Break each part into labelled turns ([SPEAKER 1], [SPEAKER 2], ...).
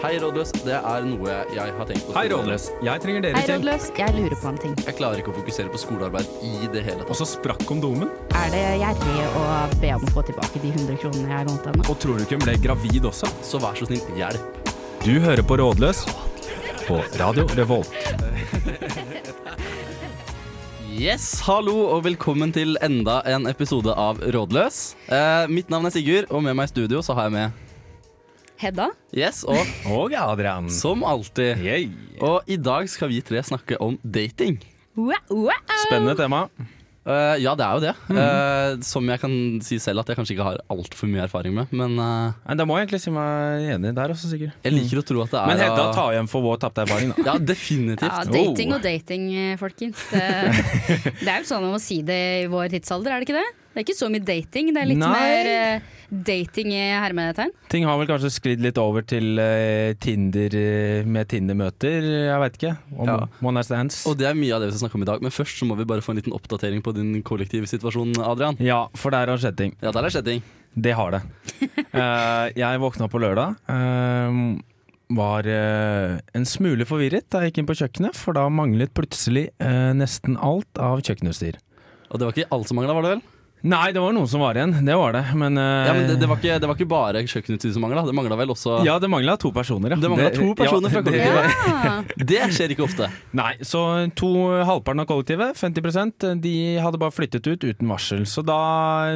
[SPEAKER 1] Hei, rådløs. Det er noe jeg har tenkt på.
[SPEAKER 2] Hei, Rådløs. Jeg trenger
[SPEAKER 3] Hei,
[SPEAKER 2] deres hjelp.
[SPEAKER 3] rådløs. Jeg lurer på en ting.
[SPEAKER 1] Jeg klarer ikke å fokusere på skolearbeid i det hele
[SPEAKER 2] Og
[SPEAKER 1] tatt.
[SPEAKER 2] så sprakk kondomen.
[SPEAKER 3] Er det gjerrig å be om å få tilbake de 100 kronene jeg lånte henne?
[SPEAKER 2] Og tror du ikke hun ble gravid også?
[SPEAKER 1] Så vær så snill, hjelp.
[SPEAKER 2] Du hører på Rådløs på Radio Revolt.
[SPEAKER 1] Yes, hallo og velkommen til enda en episode av Rådløs. Eh, mitt navn er Sigurd, og med meg i studio så har jeg med
[SPEAKER 3] Hedda?
[SPEAKER 1] Yes, og
[SPEAKER 2] Og Adrian.
[SPEAKER 1] som alltid.
[SPEAKER 2] Yay.
[SPEAKER 1] Og i dag skal vi tre snakke om dating.
[SPEAKER 2] Spennende tema.
[SPEAKER 1] Eh, ja, det er jo det. Eh, som jeg kan si selv at jeg kanskje ikke har altfor mye erfaring med, men eh,
[SPEAKER 2] Nei, da må jeg egentlig si meg enig der også, sikkert.
[SPEAKER 1] jeg liker å tro at det er
[SPEAKER 2] Men Hedda
[SPEAKER 1] av-
[SPEAKER 2] tar igjen for vår tapte erfaring, da.
[SPEAKER 1] Ja, definitivt.
[SPEAKER 3] Ja, dating
[SPEAKER 2] Oh.
[SPEAKER 3] og dating, eh, folkens. Det, det er jo sånn man må si det i vår tidsalder, er det ikke det? Det er ikke så mye dating, det er litt
[SPEAKER 2] Nei.
[SPEAKER 3] mer eh, dating i hermetegn.
[SPEAKER 2] Ting har vel kanskje sklidd litt over til eh, Tinder eh, med Tinder-møter, jeg veit ikke. Om
[SPEAKER 1] Ja.
[SPEAKER 2] One Night Stands.
[SPEAKER 1] Og det er mye av det vi skal snakke om i dag, men først så må vi bare få en liten oppdatering på din kollektive situasjon, Adrian.
[SPEAKER 2] Ja, for der har skjedd ting.
[SPEAKER 1] Ja, der er skjedd ting.
[SPEAKER 2] Det har det. Eh, jeg våkna på lørdag. eh, var eh, en smule forvirret da jeg gikk inn på kjøkkenet, for da manglet plutselig eh, nesten alt av kjøkkenutstyr.
[SPEAKER 1] Og det var ikke alt som mangla, var det vel?
[SPEAKER 2] Nei, det var noen som var igjen, det var det, men, eh,
[SPEAKER 1] Ja, men det, det, var, ikke, det var ikke bare kjøkkenutstyr som mangla, det mangla vel også
[SPEAKER 2] ja, det mangla to personer, ja.
[SPEAKER 1] Det manglet to personer fra
[SPEAKER 2] det-
[SPEAKER 1] kollektivet.
[SPEAKER 3] Ja.
[SPEAKER 1] Det skjer ikke ofte.
[SPEAKER 2] Nei, så to halvparten av kollektivet, 50 de hadde bare flyttet ut uten varsel. Så da,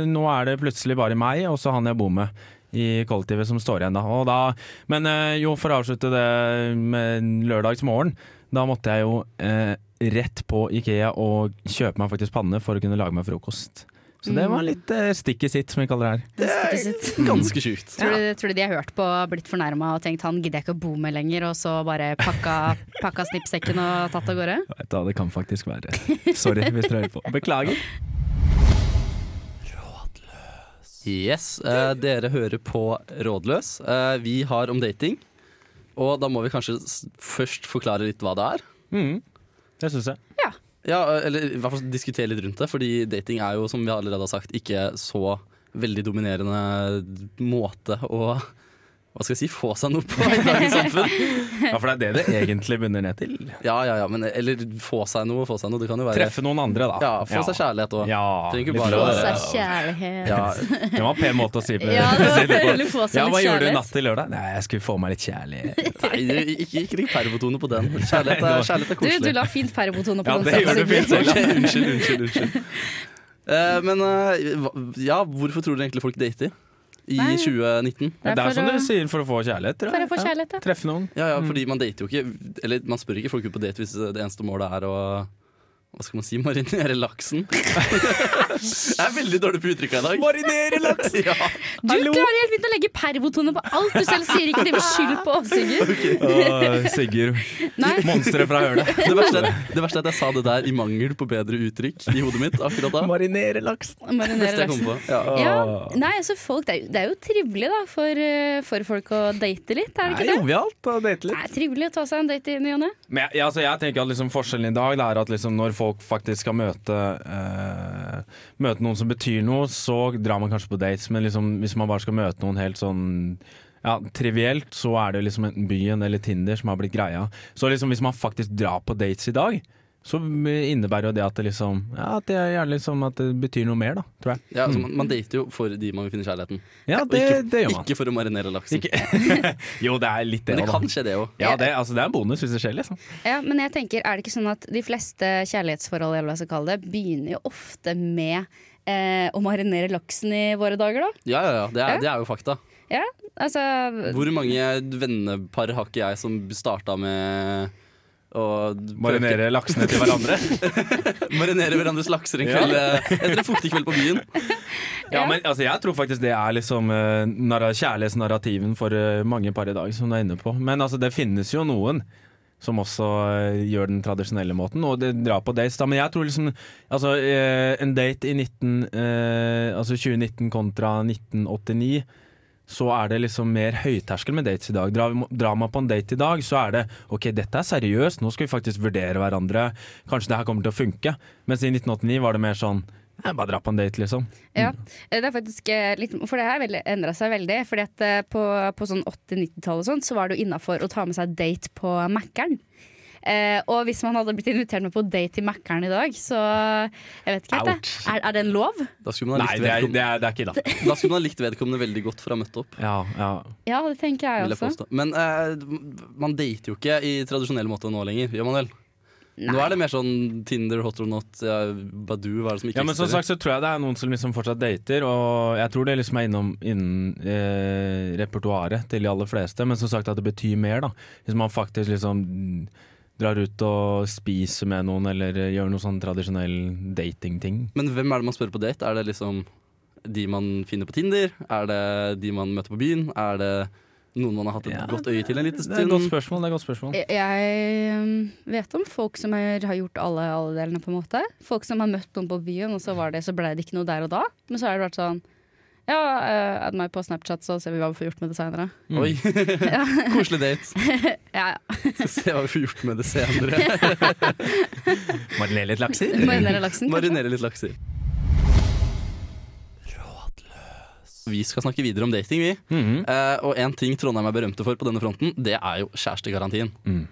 [SPEAKER 2] nå er det plutselig bare meg og så han jeg bor med i kollektivet som står igjen da. Og da men eh, jo, for å avslutte det med lørdagsmorgen, da måtte jeg jo eh, rett på Ikea og kjøpe meg faktisk panne for å kunne lage meg frokost. Så det var litt eh, stikk i sitt, som vi kaller det her.
[SPEAKER 3] Det er sikkert sitt.
[SPEAKER 1] Ganske sjukt.
[SPEAKER 3] Tror du, tror du de har hørt på, blitt fornærma og tenkt 'han gidder jeg ikke å bo med lenger', og så bare pakka, pakka snippsekken og tatt av gårde?
[SPEAKER 2] Jeg vet da, det kan faktisk være. Sorry hvis dere hører på. Beklager.
[SPEAKER 1] Yes, eh, dere hører på Rådløs. Eh, vi har om dating. Og da må vi kanskje s- først forklare litt hva det er.
[SPEAKER 2] Mm, det syns jeg.
[SPEAKER 3] Ja.
[SPEAKER 1] Ja, eh, eller i hvert fall diskutere litt rundt det, fordi dating er jo, som vi allerede har sagt, ikke så veldig dominerende måte å hva skal jeg si, få seg noe på i dagens samfunn.
[SPEAKER 2] Ja, for det er det det egentlig bunner ned til.
[SPEAKER 1] Ja, ja, ja, men eller få seg noe, få seg noe. Det kan jo være
[SPEAKER 2] Treffe noen andre, da.
[SPEAKER 1] Ja, få seg kjærlighet òg.
[SPEAKER 2] Ja,
[SPEAKER 1] Trenger ikke
[SPEAKER 2] litt
[SPEAKER 1] bare å
[SPEAKER 2] lov.
[SPEAKER 3] Få seg kjærlighet.
[SPEAKER 1] Ja,
[SPEAKER 2] Det var en pen måte å si på.
[SPEAKER 3] Ja, det var
[SPEAKER 2] si det på.
[SPEAKER 3] veldig få som
[SPEAKER 2] ja,
[SPEAKER 3] litt
[SPEAKER 2] hva gjorde du
[SPEAKER 3] kjærlighet.
[SPEAKER 2] natt til lørdag? Nei, jeg skulle få meg litt kjærlighet.
[SPEAKER 1] nei, du, ikke ikke ring pervotone på den. Kjærlighet er, kjærlighet er
[SPEAKER 3] Du, du
[SPEAKER 1] koselig.
[SPEAKER 3] la fint permotone på
[SPEAKER 2] Ja,
[SPEAKER 3] den.
[SPEAKER 2] det
[SPEAKER 3] selv,
[SPEAKER 2] gjør du
[SPEAKER 3] Sigrid.
[SPEAKER 2] fint selv.
[SPEAKER 1] Ok, unnskyld, unnskyld. unnskyld. Eh, men eh, hva- ja, hvorfor tror dere egentlig folk dater i
[SPEAKER 3] Nei.
[SPEAKER 1] 2019?
[SPEAKER 2] Det
[SPEAKER 3] Det er
[SPEAKER 2] er som
[SPEAKER 3] for å-
[SPEAKER 2] du sier for å få kjærlighet, tror
[SPEAKER 3] For å
[SPEAKER 2] jeg.
[SPEAKER 3] få kjærlighet,
[SPEAKER 2] Ja.
[SPEAKER 3] ja.
[SPEAKER 2] Treffe noen.
[SPEAKER 1] Ja, ja, fordi man dater jo ikke Eller man spør ikke folk ut på date hvis det eneste målet er å Hva skal man si? Marinere laksen. Jeg er veldig dårlig på uttrykka i dag.
[SPEAKER 2] Marinere laks!
[SPEAKER 1] Ja,
[SPEAKER 3] Du
[SPEAKER 2] Hallo?
[SPEAKER 3] klarer helt fint å legge pervotone på alt du selv sier. Ikke drive skyld på oss, Sigurd.
[SPEAKER 2] Sigurd.
[SPEAKER 3] Nei.
[SPEAKER 2] Monsteret fra hølet.
[SPEAKER 1] det, verste er, det verste er at jeg sa det der i mangel på bedre uttrykk i hodet mitt akkurat da.
[SPEAKER 2] Marinere laks.
[SPEAKER 3] Marinere
[SPEAKER 1] Neste jeg kom
[SPEAKER 3] laksen.
[SPEAKER 1] på. Ja.
[SPEAKER 3] Ja, nei, altså folk, det, er jo, det er jo trivelig da for, eh, for folk å date litt, er
[SPEAKER 2] Det
[SPEAKER 3] det
[SPEAKER 2] er
[SPEAKER 3] ikke det?
[SPEAKER 2] jovialt å date litt.
[SPEAKER 3] Det er trivelig å ta seg en date i ny og ne.
[SPEAKER 2] Men jeg, ja, altså, jeg tenker at liksom Forskjellen i dag det er at liksom når folk faktisk skal møte eh, Møte noen som betyr noe, så drar man kanskje på dates. Men liksom, hvis man bare skal møte noen helt sånn ja, trivielt, så er det liksom enten byen eller Tinder som har blitt greia. Så liksom hvis man faktisk drar på dates i dag, så innebærer jo det at det liksom Ja, at det er gjerne liksom at det betyr noe mer, da, tror jeg.
[SPEAKER 1] Ja, altså, man, man dater jo for de man vil finne kjærligheten.
[SPEAKER 2] Mm. Ja,
[SPEAKER 1] Og
[SPEAKER 2] det,
[SPEAKER 1] ikke,
[SPEAKER 2] det gjør man.
[SPEAKER 1] ikke for å marinere laksen.
[SPEAKER 2] Jo, det er litt
[SPEAKER 1] Men
[SPEAKER 2] det
[SPEAKER 1] det
[SPEAKER 2] òg,
[SPEAKER 1] kan
[SPEAKER 2] da.
[SPEAKER 1] skje, det òg.
[SPEAKER 2] Ja, det, altså, det er en bonus hvis det skjer, liksom.
[SPEAKER 3] Ja, men jeg tenker, er det ikke sånn at de fleste kjærlighetsforhold eller hva jeg skal kalle det, begynner jo ofte med eh, å marinere laksen i våre dager, da?
[SPEAKER 1] Ja, ja, ja. Det er, det er jo fakta.
[SPEAKER 3] Ja, altså
[SPEAKER 1] Hvor mange vennepar har ikke jeg som starta med å
[SPEAKER 2] Marinere laksene til hverandre.
[SPEAKER 1] Marinere hverandres lakser en
[SPEAKER 2] Ja.
[SPEAKER 1] kveld eh, etter en fuktig kveld på byen.
[SPEAKER 2] Ja, men altså, jeg tror faktisk det er liksom eh, narra- kjærlighetsnarrativen for eh, mange par i dag, som du er inne på. Men altså, det finnes jo noen som også eh, gjør den tradisjonelle måten, og det drar på dates, da. Men jeg tror liksom Altså, eh, en date i 19, eh, altså 2019 kontra 1989 så er det liksom mer høyterskel med dates i dag. Drar, drar man på en date i dag, så er det OK, dette er seriøst, nå skal vi faktisk vurdere hverandre. Kanskje det her kommer til å funke. Mens i 1989 var det mer sånn Jeg bare dra på en date, liksom.
[SPEAKER 3] Ja,
[SPEAKER 1] Mm.
[SPEAKER 3] det er faktisk eh, litt For det her veldig- endra seg veldig. Fordi at eh, på, på sånn 80-90-tallet og sånt, så var det jo innafor å ta med seg date på Mækkern. Eh, og hvis man hadde blitt invitert med på date til Mækkern i dag, så Jeg vet ikke helt,
[SPEAKER 2] Ouch.
[SPEAKER 3] jeg. Er, er det en lov?
[SPEAKER 1] Da skulle man ha
[SPEAKER 2] Nei,
[SPEAKER 1] likt
[SPEAKER 2] det er,
[SPEAKER 1] vedkommende,
[SPEAKER 2] det er, det er ikke da.
[SPEAKER 1] da skulle man ha likt vedkommende veldig godt for å ha møtt opp.
[SPEAKER 2] Ja, ja.
[SPEAKER 3] Ja, det tenker jeg
[SPEAKER 1] Vil jeg
[SPEAKER 3] også.
[SPEAKER 1] påstå. Men eh, man dater jo ikke i tradisjonell måte nå lenger, gjør man vel? Nå er det mer sånn Tinder, Hot or Not, ja, Badoo, hva er det som ikke
[SPEAKER 2] ja, men som sagt så tror jeg det er noen som liksom fortsatt dater, og jeg tror det liksom er innom innen eh, repertoaret til de aller fleste, men som sagt at det betyr mer, da. Hvis man faktisk liksom mm, drar ut og spiser med noen, eller gjør noe sånn tradisjonell datingting.
[SPEAKER 1] Men hvem er det man spør på date? Er det liksom de man finner på Tinder? Er det de man møter på byen? Er det noen man har hatt et
[SPEAKER 2] Ja,
[SPEAKER 1] godt øye til en liten
[SPEAKER 2] Det
[SPEAKER 1] stund?
[SPEAKER 2] er et godt spørsmål. det er et godt spørsmål
[SPEAKER 3] Jeg- Jeg um, vet om folk som er, har gjort alle, alle delene, på en måte. Folk som har møtt noen på byen, og så, var det, så ble det ikke noe der og da. Men så har det vært sånn Ja, eh, add meg på Snapchat, så ser vi hva vi får gjort med det seinere.
[SPEAKER 1] Oi, Koselig date.
[SPEAKER 3] Ja, ja.
[SPEAKER 1] Skal se hva vi får gjort med det senere.
[SPEAKER 2] Marinere litt Eh, lakser?
[SPEAKER 3] Marinere laksen, kanskje?
[SPEAKER 1] Marinere litt lakser. Vi skal snakke videre om dating, vi.
[SPEAKER 2] Mhm.
[SPEAKER 1] Eh, og en ting Trondheim er berømte for på denne fronten, det er jo kjærestegarantien.
[SPEAKER 2] Mm.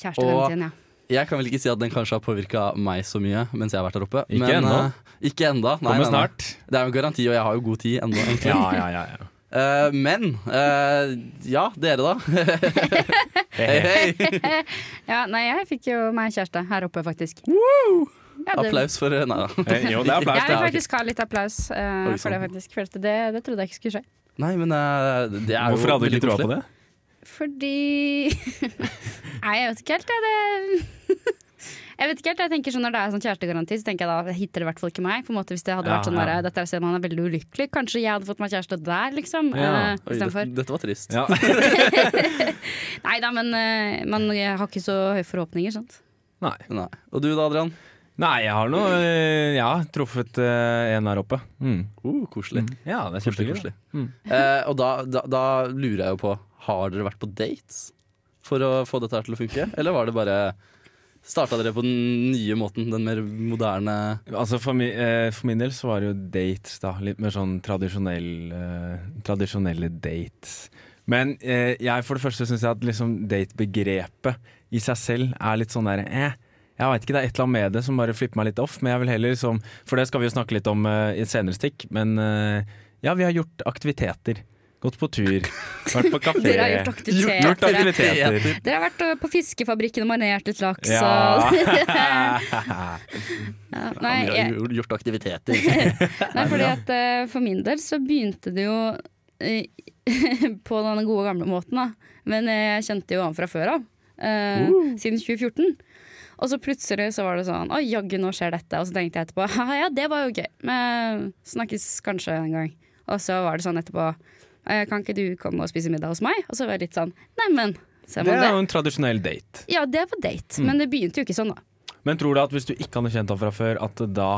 [SPEAKER 3] Kjærestegarantien, ja.
[SPEAKER 1] Jeg kan vel ikke si at den kanskje har påvirka meg så mye mens jeg har vært der oppe.
[SPEAKER 2] Ikke
[SPEAKER 1] men,
[SPEAKER 2] ennå.
[SPEAKER 1] eh, ikke enda. Nei, nei,
[SPEAKER 2] Kommer
[SPEAKER 1] nei.
[SPEAKER 2] snart.
[SPEAKER 1] Det er jo en garanti, og jeg har jo god tid ennå, egentlig.
[SPEAKER 2] Ja, ja, ja. ja.
[SPEAKER 1] Eh, men eh, ja, dere da. Hei, hei.
[SPEAKER 3] ja. Nei, jeg fikk jo meg kjæreste her oppe, faktisk. Ja, det-
[SPEAKER 1] Applaus for Nei da.
[SPEAKER 2] Eh, Jo, det er applaus.
[SPEAKER 3] Jeg
[SPEAKER 2] det
[SPEAKER 3] vil
[SPEAKER 2] er-
[SPEAKER 3] faktisk ha litt applaus eh,
[SPEAKER 1] Oi,
[SPEAKER 3] for det,
[SPEAKER 2] sånn?
[SPEAKER 1] sant.
[SPEAKER 3] faktisk. For det, det trodde jeg ikke skulle skje.
[SPEAKER 1] Nei, men eh, det er jo
[SPEAKER 2] Hvorfor hadde du
[SPEAKER 1] veldig
[SPEAKER 2] ikke troa på
[SPEAKER 1] koselig.
[SPEAKER 2] det?
[SPEAKER 3] Fordi Nei, jeg vet ikke helt. jeg, Det... Jeg vet ikke helt, jeg tenker sånn Når det er sånn kjærestegaranti, så tenker jeg da hitter det i hvert fall ikke meg. På en måte Hvis det hadde
[SPEAKER 2] Ja,
[SPEAKER 3] vært sånn
[SPEAKER 2] ja.
[SPEAKER 3] der, Dette er et sted man er veldig ulykkelig, kanskje jeg hadde fått meg kjæreste der, liksom.
[SPEAKER 2] Ja,
[SPEAKER 3] eh,
[SPEAKER 1] Oi, dette,
[SPEAKER 3] Istedenfor.
[SPEAKER 1] dette var trist.
[SPEAKER 2] Ja.
[SPEAKER 3] Nei da, men eh, man har ikke så høye forhåpninger, sant.
[SPEAKER 2] Nei.
[SPEAKER 1] Nei. Og du da, Adrian?
[SPEAKER 2] Nei, jeg har noe eh, Jeg har truffet eh, en her oppe. Mm.
[SPEAKER 1] Uh, koselig.
[SPEAKER 2] Ja, det er
[SPEAKER 1] Koselig,
[SPEAKER 2] kjempegøy.
[SPEAKER 1] koselig.
[SPEAKER 2] Mm.
[SPEAKER 1] Eh, og da, da, da lurer jeg jo på, har dere vært på dates for å få dette her til å funke? Eller var det bare Starta dere på den nye måten, den mer moderne
[SPEAKER 2] Altså for, mi, eh, for min del så var det jo dates, da. Litt mer sånn tradisjonell, eh, tradisjonelle dates. Men eh, jeg for det første syns jeg at liksom date-begrepet i seg selv er litt sånn derre eh, jeg veit ikke, det er et eller annet med det som bare flipper meg litt off. Men jeg vil heller liksom For det skal vi jo snakke litt om eh, i et senere stikk. Men eh, ja, vi har gjort aktiviteter. Gått på tur. Vært på kafé.
[SPEAKER 3] Dere har gjort aktiviteter.
[SPEAKER 2] Gjort aktiviteter.
[SPEAKER 3] Dere har vært eh, på fiskefabrikken og marinert litt laks.
[SPEAKER 2] Ja.
[SPEAKER 3] Og... Ja, Nei,
[SPEAKER 1] Vi
[SPEAKER 3] jeg,
[SPEAKER 1] har gjort- gjort aktiviteter.
[SPEAKER 3] Nei, fordi at eh, for min del så begynte det jo eh, på den gode gamle måten, da. Men eh, jeg kjente jo han fra før av. eh, Siden 2014. Og så plutselig så var det sånn Å, jaggu, nå skjer dette. Og så tenkte jeg etterpå «Haha, ja, det var jo gøy. Men eh, snakkes kanskje en gang. Og så var det sånn etterpå «Eh, Kan ikke du komme og spise middag hos meg? Og så var jeg litt sånn Neimen, ser
[SPEAKER 2] Det
[SPEAKER 3] man
[SPEAKER 2] er
[SPEAKER 3] det?
[SPEAKER 2] jo en tradisjonell date.
[SPEAKER 3] Ja, det var date. Men det begynte jo ikke sånn, da.
[SPEAKER 2] Men tror du at hvis du ikke hadde kjent ham fra før, at det da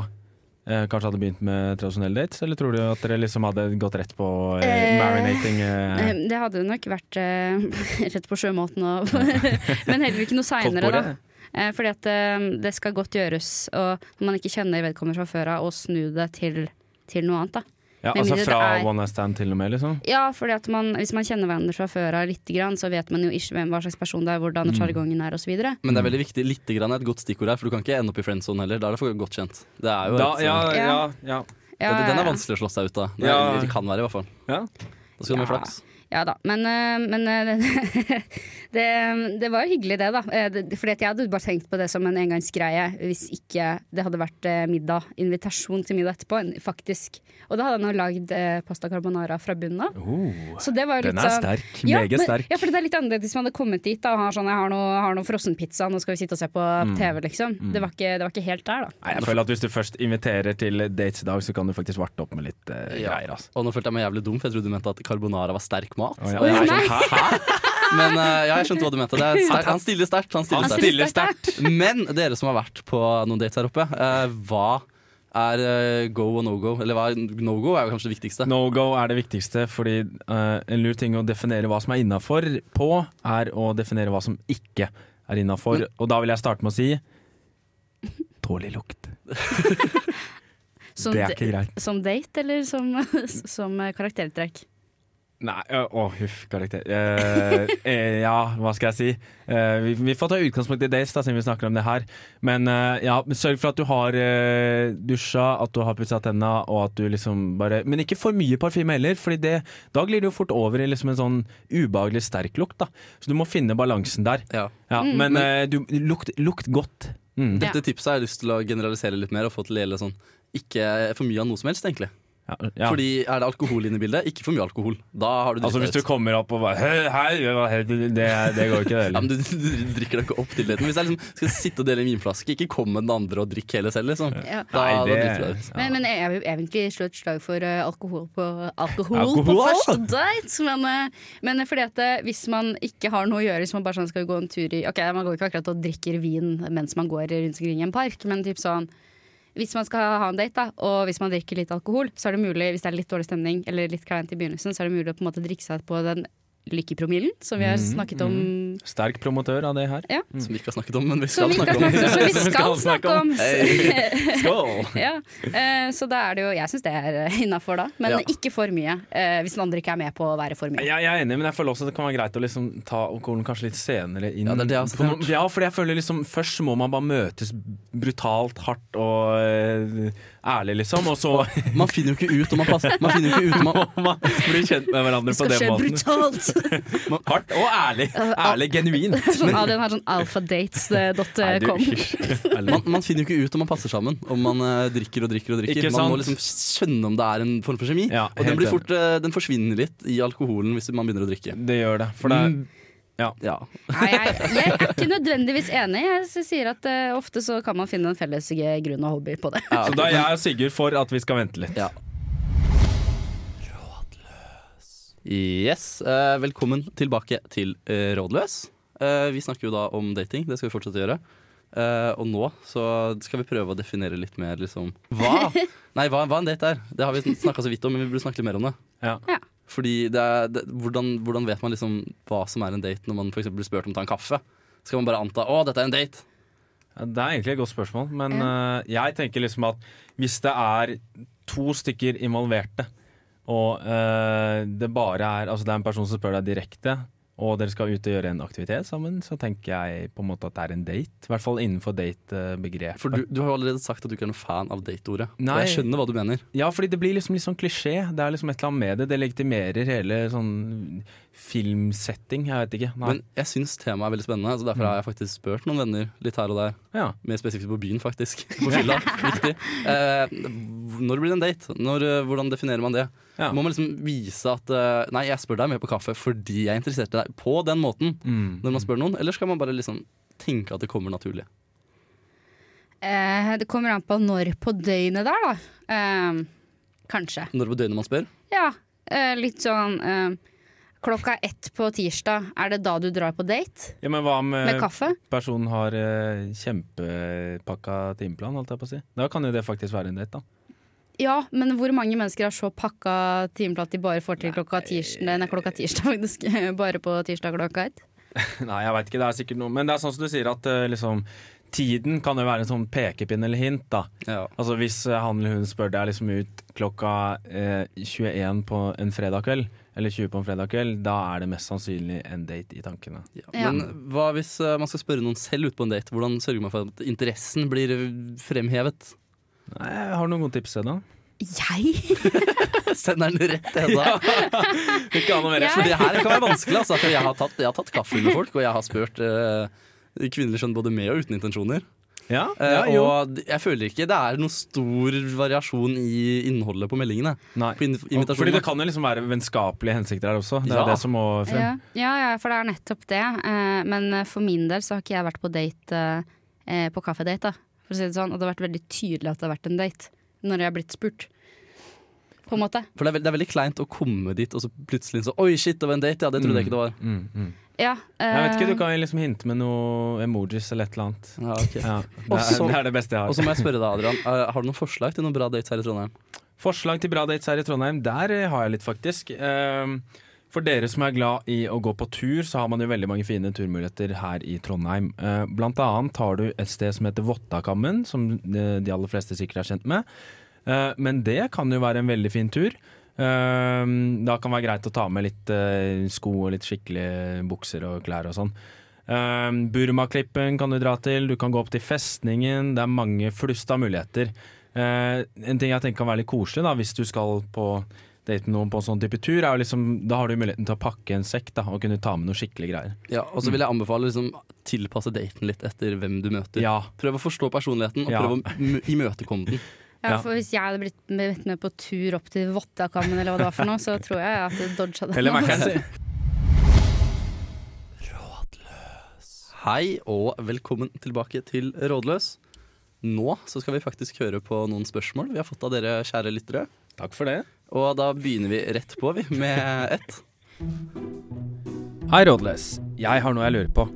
[SPEAKER 2] eh, kanskje hadde begynt med tradisjonelle dates? Eller tror du at dere liksom hadde gått rett på eh,
[SPEAKER 3] Eh,
[SPEAKER 2] marinating? Eh,
[SPEAKER 3] Eh, Det hadde nok vært eh, rett på sjømåten, og, men heller ikke noe seinere, da.
[SPEAKER 2] Koldtbordet?
[SPEAKER 3] Eh, fordi at eh, det skal godt gjøres, og når man ikke kjenner vedkommende fra før av, å snu det til, til noe annet, da.
[SPEAKER 2] Ja,
[SPEAKER 3] med
[SPEAKER 2] altså
[SPEAKER 3] mindre det
[SPEAKER 2] fra
[SPEAKER 3] er-
[SPEAKER 2] one night stand til og med, liksom?
[SPEAKER 3] Ja, fordi at man, hvis man kjenner hverandre fra før av lite grann, så vet man jo ikke hvem hva slags person det er,
[SPEAKER 1] Mm.
[SPEAKER 3] hvordan sjargongen er, osv.
[SPEAKER 1] Men det er veldig viktig. Litt grann er et godt stikkord her, for du kan ikke ende opp i friendzone heller. Da er det for godt kjent. Det er jo
[SPEAKER 2] Da,
[SPEAKER 1] et, eh,
[SPEAKER 2] ja, ja,
[SPEAKER 3] Ja.
[SPEAKER 2] ja.
[SPEAKER 1] Den, den er vanskelig å slå seg ut av. Det,
[SPEAKER 2] Ja.
[SPEAKER 1] det kan være, i hvert fall.
[SPEAKER 2] ja.
[SPEAKER 1] Da skal du ha mye
[SPEAKER 3] Ja.
[SPEAKER 1] flaks.
[SPEAKER 3] Ja da, men, eh, men eh, det, det, det var hyggelig det, da. Eh, det- Fordi at jeg hadde bare tenkt på det som en engangsgreie hvis ikke det hadde vært eh, middag. Invitasjon til middag etterpå, en- faktisk. Og da hadde han jo lagd eh, pasta carbonara fra bunnen av.
[SPEAKER 2] Oh,
[SPEAKER 3] Så det var jo
[SPEAKER 2] den
[SPEAKER 3] litt
[SPEAKER 2] er
[SPEAKER 3] sånn-
[SPEAKER 2] sterk.
[SPEAKER 3] Ja,
[SPEAKER 2] Meget
[SPEAKER 3] men-
[SPEAKER 2] sterk.
[SPEAKER 3] Ja, for det er litt annerledes hvis man hadde kommet dit da, og har sånn jeg har noe, har noe frossenpizza, nå skal vi sitte og se på TV, liksom. Det, var ikke, det var ikke helt der, da.
[SPEAKER 2] Mm. Nei, jeg føler at Hvis du først inviterer til dates i dag, så kan du faktisk varte opp med litt eh,
[SPEAKER 1] Ja.
[SPEAKER 2] greier. Altså.
[SPEAKER 1] Og nå følte jeg meg jævlig dum, for jeg trodde du mente at carbonara var sterk mat.
[SPEAKER 2] Å, ja.
[SPEAKER 1] Og jeg
[SPEAKER 2] Jeg
[SPEAKER 1] er
[SPEAKER 2] er sånn, hæ? Hæ?
[SPEAKER 1] sånn, Men eh, ja, jeg skjønte hva du mente. Det er sterk, han stiller sterkt. Han
[SPEAKER 2] Han
[SPEAKER 3] Altså,
[SPEAKER 1] stiller sterkt.
[SPEAKER 2] stiller sterkt!
[SPEAKER 1] Men dere som har vært på noen dates her oppe, eh, hva er eh, go og no go? Eller hva er no go er jo kanskje det viktigste.
[SPEAKER 2] No go er det viktigste, fordi eh, en lur ting å definere hva som er innafor på, er å definere hva som ikke er innafor. Og da vil jeg starte med å si dårlig lukt.
[SPEAKER 3] Som,
[SPEAKER 2] det er ikke greit.
[SPEAKER 3] da- som date eller som, som eh, karaktertrekk?
[SPEAKER 2] Nei, øh, å huff, karakter. Eh, eh, ja, hva skal jeg si? Eh, vi, vi får ta utgangspunkt i dates, da, siden vi snakker om det her. Men eh, ja, men sørg for at du har eh, dusja, at du har pussa tenna, og at du liksom bare Men ikke for mye parfyme heller, Fordi det, da glir det jo fort over i liksom en sånn ubehagelig sterk lukt, da. Så du må finne balansen der.
[SPEAKER 1] Ja.
[SPEAKER 2] Ja, men eh, du, lukt, lukt godt. Mm.
[SPEAKER 3] Ja.
[SPEAKER 1] Dette tipset har jeg lyst til å generalisere litt mer og få til å gjelde sånn ikke for mye av noe som helst, egentlig.
[SPEAKER 2] Ja, ja.
[SPEAKER 1] Fordi er det alkohol inne i bildet, ikke for mye alkohol. Da har du
[SPEAKER 2] altså, hvis
[SPEAKER 1] drita
[SPEAKER 2] du
[SPEAKER 1] ut.
[SPEAKER 2] kommer opp og bare Hei, hei, hva heter du?» det, det går ikke, det
[SPEAKER 1] Ja,
[SPEAKER 2] heller.
[SPEAKER 1] men du, du drikker deg ikke opp til det. Men hvis jeg liksom skal sitte og dele en vinflaske, ikke kom med den andre og drikk hele selv, liksom.
[SPEAKER 3] Ja.
[SPEAKER 1] Da,
[SPEAKER 2] Nei,
[SPEAKER 1] da
[SPEAKER 2] det-
[SPEAKER 1] driter du deg ut.
[SPEAKER 3] Men, men jeg vil egentlig slå et slag for eh, alkohol på, alkohol på
[SPEAKER 2] Alkohol?
[SPEAKER 3] første date. Men, eh, men fordi at eh, hvis man ikke har noe å gjøre, hvis man bare sånn skal gå en tur i Ok, man går ikke akkurat og drikker vin mens man går rundt omkring i en park, men typ sånn hvis man skal ha en date, da, og hvis man drikker litt alkohol, så er det mulig, hvis det er litt dårlig stemning eller litt kleint i begynnelsen, så er det mulig å på en måte drikke seg på den lykkepromillen som vi har snakket om.
[SPEAKER 2] Sterk promotør av det her.
[SPEAKER 3] Ja.
[SPEAKER 1] Som vi ikke har snakket om, men vi
[SPEAKER 3] Som
[SPEAKER 1] skal
[SPEAKER 3] vi ikke
[SPEAKER 1] snakke
[SPEAKER 3] har
[SPEAKER 1] om.
[SPEAKER 3] snakket om, som vi
[SPEAKER 2] Som vi
[SPEAKER 3] skal
[SPEAKER 2] skal
[SPEAKER 3] snakke om.
[SPEAKER 1] Eh,
[SPEAKER 2] Skål!
[SPEAKER 3] Ja, eh, så da er det jo Jeg syns det er eh, innafor, da. Men
[SPEAKER 1] Ja.
[SPEAKER 3] ikke for mye. eh, hvis den andre ikke er med på å være for mye.
[SPEAKER 2] Jeg, jeg er enig, men jeg føler også det kan være greit å liksom ta alkoholen kanskje litt senere inn.
[SPEAKER 1] Ja, det er det jeg også
[SPEAKER 2] På
[SPEAKER 1] har hørt.
[SPEAKER 2] noen- ja, fordi jeg føler liksom Først må man bare møtes brutalt hardt og eh, ærlig, liksom. Og så
[SPEAKER 1] Man finner jo ikke ut om man passer Man finner jo ikke ut om man
[SPEAKER 2] må man bli kjent med hverandre på
[SPEAKER 3] Skal
[SPEAKER 2] den
[SPEAKER 3] skje
[SPEAKER 2] måten.
[SPEAKER 3] brutalt!
[SPEAKER 2] Hardt og ærlig.
[SPEAKER 3] al-
[SPEAKER 2] Ærlig, genuint.
[SPEAKER 3] Sånn, ah, den har sånn
[SPEAKER 2] Nei, du,
[SPEAKER 3] alfadates.com.
[SPEAKER 2] hysj. Ærlig.
[SPEAKER 1] man, man finner jo ikke ut om man passer sammen, om man eh, drikker og drikker. og drikker
[SPEAKER 2] Ikke
[SPEAKER 1] Man må
[SPEAKER 2] sant?
[SPEAKER 1] liksom skjønne om det er en form for kjemi.
[SPEAKER 2] Ja,
[SPEAKER 1] og den,
[SPEAKER 2] helt
[SPEAKER 1] blir
[SPEAKER 2] enig.
[SPEAKER 1] fort, eh, den forsvinner litt i alkoholen hvis man begynner å drikke.
[SPEAKER 2] Det gjør det. For det er
[SPEAKER 1] Mm.
[SPEAKER 2] ja.
[SPEAKER 1] Ja.
[SPEAKER 3] Nei, jeg, jeg er ikke nødvendigvis enig. Jeg s- sier at eh, ofte så kan man finne en felles eh, grunn og hobby på det.
[SPEAKER 1] Ja,
[SPEAKER 2] Så da er jeg og Sigurd for at vi skal vente litt.
[SPEAKER 1] Ja. Yes. eh, velkommen tilbake til eh, Rådløs. Eh, vi snakker jo da om dating, det skal vi fortsette å gjøre. Eh, og nå så skal vi prøve å definere litt mer liksom Hva? Nei, hva, hva en date er. Det har vi snakka så vidt om, men vi burde snakke litt mer om det.
[SPEAKER 2] Ja.
[SPEAKER 1] Fordi det er, det, hvordan, hvordan vet man liksom hva som er en date når man for eksempel blir spurt om å ta en kaffe? Skal man bare anta 'å, dette er en date'?
[SPEAKER 2] Ja, Det er egentlig et godt spørsmål, men eh, jeg tenker liksom at hvis det er to stykker involverte, og eh, det bare er Altså det er en person som spør deg direkte, og dere skal ut og gjøre en aktivitet sammen, så tenker jeg på en måte at det er en date. I hvert fall innenfor date-begrepet.
[SPEAKER 1] For du, du har jo allerede sagt at du ikke er noen fan av date-ordet. Og
[SPEAKER 2] Nei.
[SPEAKER 1] jeg skjønner hva du mener.
[SPEAKER 2] Ja, fordi det blir liksom litt sånn klisjé. Det er liksom et eller annet med det. Det legitimerer hele sånn filmsetting. Jeg vet ikke. Nei.
[SPEAKER 1] Men jeg syns temaet er veldig spennende, så derfor har jeg faktisk spurt noen venner litt her og der.
[SPEAKER 2] ja.
[SPEAKER 1] Mer spesifikt på byen, faktisk. På fylla. Viktig. Eh, når blir det en date? Når, eh, hvordan definerer man det?
[SPEAKER 2] Ja.
[SPEAKER 1] Må man liksom vise at eh, Nei, jeg spør deg med på kaffe fordi jeg er interessert i deg. På den måten.
[SPEAKER 2] Mm.
[SPEAKER 1] Når man spør noen. Eller skal man bare liksom tenke at det kommer naturlig?
[SPEAKER 3] Eh, det kommer an på når på døgnet der, da. Eh, kanskje.
[SPEAKER 1] Når på døgnet man spør?
[SPEAKER 3] Ja, eh, litt sånn eh, Klokka ett på tirsdag, er det da du drar på date?
[SPEAKER 2] ja, men hva
[SPEAKER 3] Med
[SPEAKER 2] med
[SPEAKER 3] kaffe?
[SPEAKER 2] personen har eh, kjempepakka timeplan, holdt jeg på å si. Da kan jo det faktisk være en date, da.
[SPEAKER 3] Ja, men hvor mange mennesker har så pakka timeplan at de bare får til klokka tirsdag, nei, klokka tirsdag faktisk, bare på tirsdag klokka ett?
[SPEAKER 2] Nei, jeg veit ikke, det er sikkert noe. Men det er sånn som du sier at eh, liksom Tiden kan jo være en sånn pekepinn eller hint, da.
[SPEAKER 1] Ja.
[SPEAKER 2] Altså hvis eh, han eller hun spør deg liksom ut klokka eh, 21 på en fredag kveld, eller 20 på en fredag kveld, da er det mest sannsynlig en date i tankene.
[SPEAKER 3] Ja.
[SPEAKER 1] Men hva hvis eh, man skal spørre noen selv ut på en date? Hvordan sørger man for at interessen blir eh, fremhevet?
[SPEAKER 2] Nei, har du noen gode tips, Edda?
[SPEAKER 3] Jeg?
[SPEAKER 1] Sender den rett til Hedda.
[SPEAKER 2] Ikke annet
[SPEAKER 3] mer. Ja.
[SPEAKER 1] For det her kan være vanskelig. Altså, for jeg, har tatt, jeg har tatt kaffe med folk, og jeg har spurt eh, kvinnelig skjønn både med og uten intensjoner.
[SPEAKER 2] Ja,
[SPEAKER 1] Eh,
[SPEAKER 2] ja, jo.
[SPEAKER 1] og d- jeg føler ikke det er noe stor variasjon i innholdet på meldingene.
[SPEAKER 2] Nei.
[SPEAKER 1] På in-
[SPEAKER 2] Og-
[SPEAKER 1] invitasjonen.
[SPEAKER 2] Fordi det kan jo liksom være vennskapelige hensikter her også. Det
[SPEAKER 1] Ja.
[SPEAKER 2] er jo det som må frem.
[SPEAKER 3] Ja, ja, ja, for det er nettopp det. Eh, Men eh, for min del så har ikke jeg vært på date eh, på kaffedate, da. For å si det sånn. Og det har vært veldig tydelig at det har vært en date når jeg har blitt spurt. På en måte.
[SPEAKER 1] For det er, veld, det er veldig kleint å komme dit, og så plutselig så Oi, shit, det var en date, ja. Det trodde jeg ikke det var.
[SPEAKER 2] Mm, mm.
[SPEAKER 3] Ja. eh,
[SPEAKER 2] Jeg vet ikke, du kan jo liksom hinte med noe emojis eller et eller annet.
[SPEAKER 1] Ja, ok.
[SPEAKER 2] Ja, det, er,
[SPEAKER 1] Også-
[SPEAKER 2] det er det beste jeg
[SPEAKER 1] Og
[SPEAKER 2] har.
[SPEAKER 1] så må jeg spørre deg, Adrian. eh, har du noen forslag til noen bra dates her i Trondheim?
[SPEAKER 2] Forslag til bra dates her i Trondheim, der eh, har jeg litt faktisk. Ehm, For dere som er glad i å gå på tur, så har man jo veldig mange fine turmuligheter her i Trondheim. Eh, Blant annet har du et sted som heter Vottakammen, som eh, de aller fleste sikkert er kjent med. Eh, Men det kan jo være en veldig fin tur. Eh, Da kan det være greit å ta med litt eh, sko og litt skikkelige bukser og klær og sånn. Eh, Burmaklippen kan du dra til, du kan gå opp til festningen. Det er mange flust av muligheter. Eh, En ting jeg tenker kan være litt koselig da, hvis du skal på date med noen på en sånn type tur, er jo liksom, da har du muligheten til å pakke en sekk da, og kunne ta med noe skikkelig greier.
[SPEAKER 1] Ja, og så vil jeg anbefale liksom, tilpasse daten litt etter hvem du møter.
[SPEAKER 2] Ja,
[SPEAKER 1] Prøv å forstå personligheten, og
[SPEAKER 2] Ja.
[SPEAKER 1] prøv å m- imøtekomme den.
[SPEAKER 3] Ja,
[SPEAKER 2] Ja.
[SPEAKER 3] for Hvis jeg hadde blitt med, med på tur opp til Vottakammen, eller hva det var for noe, så tror jeg at jeg dodga det.
[SPEAKER 2] eller man kan si
[SPEAKER 1] Hei og velkommen tilbake til Rådløs. Nå så skal vi faktisk høre på noen spørsmål vi har fått av dere kjære lyttere.
[SPEAKER 2] Takk for det.
[SPEAKER 1] Og da begynner vi rett på, vi, med ett.
[SPEAKER 2] Hei, Rådløs. Jeg har noe jeg lurer på.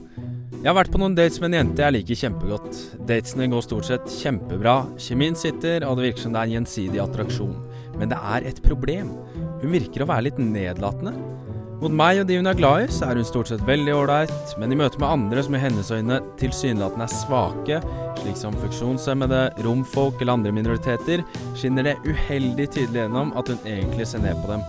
[SPEAKER 2] Jeg har vært på noen dates med en jente jeg liker kjempegodt. Datene går stort sett kjempebra, kjemien sitter, og det virker som det er en gjensidig attraksjon. Men det er et problem. Hun virker å være litt nedlatende. Mot meg og de hun er glad i, så er hun stort sett veldig ålreit, men i møte med andre som i hennes øyne tilsynelatende er svake, slik som funksjonshemmede, romfolk eller andre minoriteter, skinner det uheldig tydelig gjennom at hun egentlig ser ned på dem.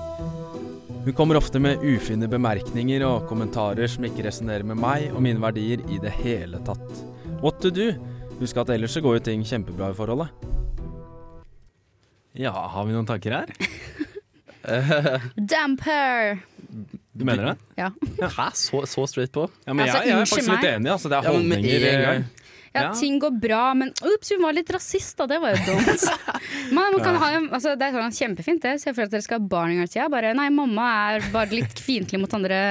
[SPEAKER 2] Hun kommer ofte med ufine bemerkninger og kommentarer som ikke resonnerer med meg og mine verdier i det hele tatt. What to do? Husk at ellers så går jo ting kjempebra i forholdet. Ja, har vi noen tanker her?
[SPEAKER 3] Damp her!
[SPEAKER 2] Du mener det?
[SPEAKER 1] Hæ, så, så straight på?
[SPEAKER 2] Ja, men
[SPEAKER 3] Altså,
[SPEAKER 2] jeg, jeg er
[SPEAKER 3] unnskyld
[SPEAKER 2] faktisk litt
[SPEAKER 3] meg.
[SPEAKER 2] enig. Altså, det er
[SPEAKER 1] Ja, men med
[SPEAKER 2] holdninger
[SPEAKER 1] en gang.
[SPEAKER 3] Ja,
[SPEAKER 2] Ja.
[SPEAKER 3] ting går bra, men ups, hun var litt rasist, da. Det var jo dumt. Man, man kan ha, en- altså, det er sånn kjempefint, det. Så jeg føler at dere skal ha barn en gang i tida. Bare nei, mamma er bare litt fiendtlig mot andre.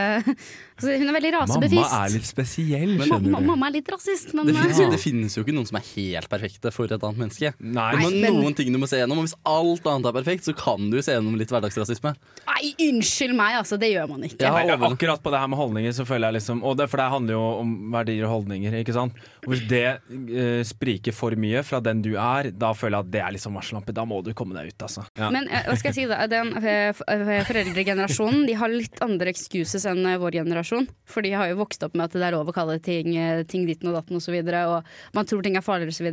[SPEAKER 3] Altså, hun er veldig rasebevist.
[SPEAKER 2] Mamma er litt spesiell,
[SPEAKER 3] Ma-
[SPEAKER 2] skjønner
[SPEAKER 3] ma-
[SPEAKER 2] du.
[SPEAKER 3] mamma er litt rasist, men
[SPEAKER 1] Det finnes, jo,
[SPEAKER 3] eh,
[SPEAKER 1] det finnes jo ikke noen som er helt perfekte for et annet menneske.
[SPEAKER 2] Nei,
[SPEAKER 1] Det må
[SPEAKER 3] men-
[SPEAKER 1] noen ting du må se gjennom, og hvis alt annet er perfekt, så kan du se gjennom litt hverdagsrasisme.
[SPEAKER 3] Nei, unnskyld meg, altså. Det gjør man ikke.
[SPEAKER 1] Ja.
[SPEAKER 2] Nei, det er akkurat på det her med holdninger så føler jeg liksom og det, For det handler jo om verdier og holdninger, ikke sant? Og hvis det eh, spriker for mye fra den du er, da føler jeg at det er liksom varsellampe. Da må du komme deg ut, altså. Ja.
[SPEAKER 3] Men eh, hva skal jeg si da, den eh, f- eh, foreldregenerasjonen De har litt andre excuses enn eh, vår generasjon. For de har jo vokst opp med at det er lov å kalle ting, eh, ting ditten og datten osv. Og, så videre, og man tror ting er farligere osv.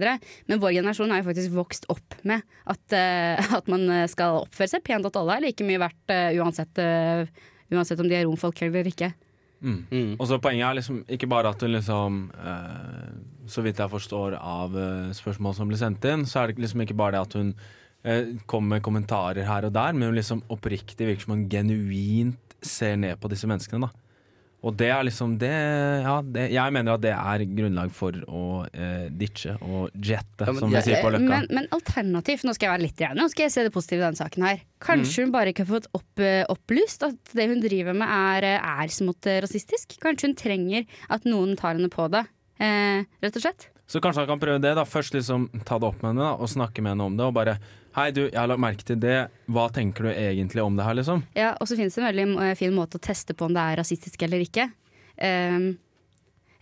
[SPEAKER 3] Men vår generasjon har jo faktisk vokst opp med at, eh, at man eh, skal oppføre seg pent, at alle er like mye verdt eh, uansett, eh, uansett om de er romfolk eller ikke.
[SPEAKER 2] Og så Poenget er liksom ikke bare at hun liksom eh, Så vidt jeg forstår av eh, spørsmål som blir sendt inn, så er det liksom ikke bare det at hun eh, kommer med kommentarer her og der, men hun liksom oppriktig virker som hun genuint ser ned på disse menneskene. da Og det er liksom det Ja, det, jeg mener at det er grunnlag for å eh, ditche og jette,
[SPEAKER 1] Ja, men
[SPEAKER 2] som vi
[SPEAKER 1] jeg-
[SPEAKER 2] sier på
[SPEAKER 3] Eh,
[SPEAKER 2] Løkka.
[SPEAKER 3] Men, men alternativt, nå skal jeg være litt rein, nå skal jeg se det positive i denne saken her. Kanskje hun bare ikke har fått opp, eh, opplyst at det hun driver med er, eh, er smått eh, rasistisk. Kanskje hun trenger at noen tar henne på det. Eh, rett og slett.
[SPEAKER 2] Så kanskje han kan prøve det. da Først liksom ta det opp med henne da, og snakke med henne om det. Og bare Hei, du, jeg har lagt merke til det. Hva tenker du egentlig om det her, liksom?
[SPEAKER 3] Ja, og så finnes det en veldig eh, fin måte å teste på om det er rasistisk eller ikke. Ehm,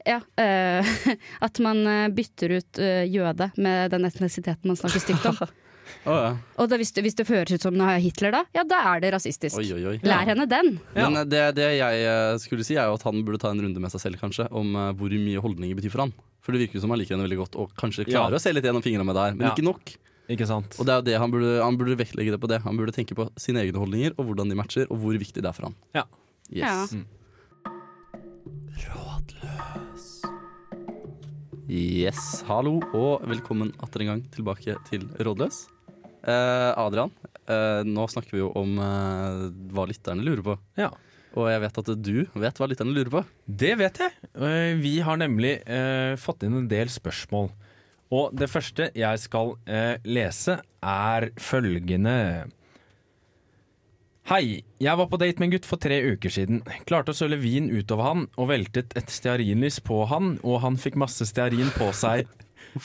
[SPEAKER 3] ja, eh, At man eh, bytter ut eh, jøde med den etnisiteten man snakker stygt om.
[SPEAKER 1] Å, ja.
[SPEAKER 3] Og da, hvis, det, hvis det føres ut som det er Hitler, da, ja, da er det rasistisk.
[SPEAKER 1] Oi, oi, oi.
[SPEAKER 3] Lær henne den.
[SPEAKER 2] Ja.
[SPEAKER 1] Men eh, det, det jeg eh, skulle si, er jo at han burde ta en runde med seg selv, kanskje, om eh, hvor mye holdninger betyr for han. For det virker jo som han liker henne veldig godt, og kanskje klarer
[SPEAKER 2] Ja.
[SPEAKER 1] å se litt gjennom fingrene med det her, men
[SPEAKER 2] Ja.
[SPEAKER 1] ikke nok.
[SPEAKER 2] Ikke sant?
[SPEAKER 1] Og det er jo det han burde, han burde vektlegge det på det. Han burde tenke på sine egne holdninger, og hvordan de matcher, og hvor viktig det er for han.
[SPEAKER 2] Ja. Mm.
[SPEAKER 1] Yes.
[SPEAKER 3] Ja.
[SPEAKER 1] Yes, hallo og velkommen atter en gang tilbake til Rådløs. Eh, Adrian, eh, nå snakker vi jo om eh, hva lytterne lurer på.
[SPEAKER 2] Ja.
[SPEAKER 1] Og jeg vet at du vet hva lytterne lurer på.
[SPEAKER 2] Det vet jeg. Eh, Vi har nemlig eh, fått inn en del spørsmål. Og det første jeg skal eh, lese, er følgende. Hei. Jeg var på date med en gutt for tre uker siden. Klarte å søle vin utover han og veltet et stearinlys på han, og han fikk masse stearin på seg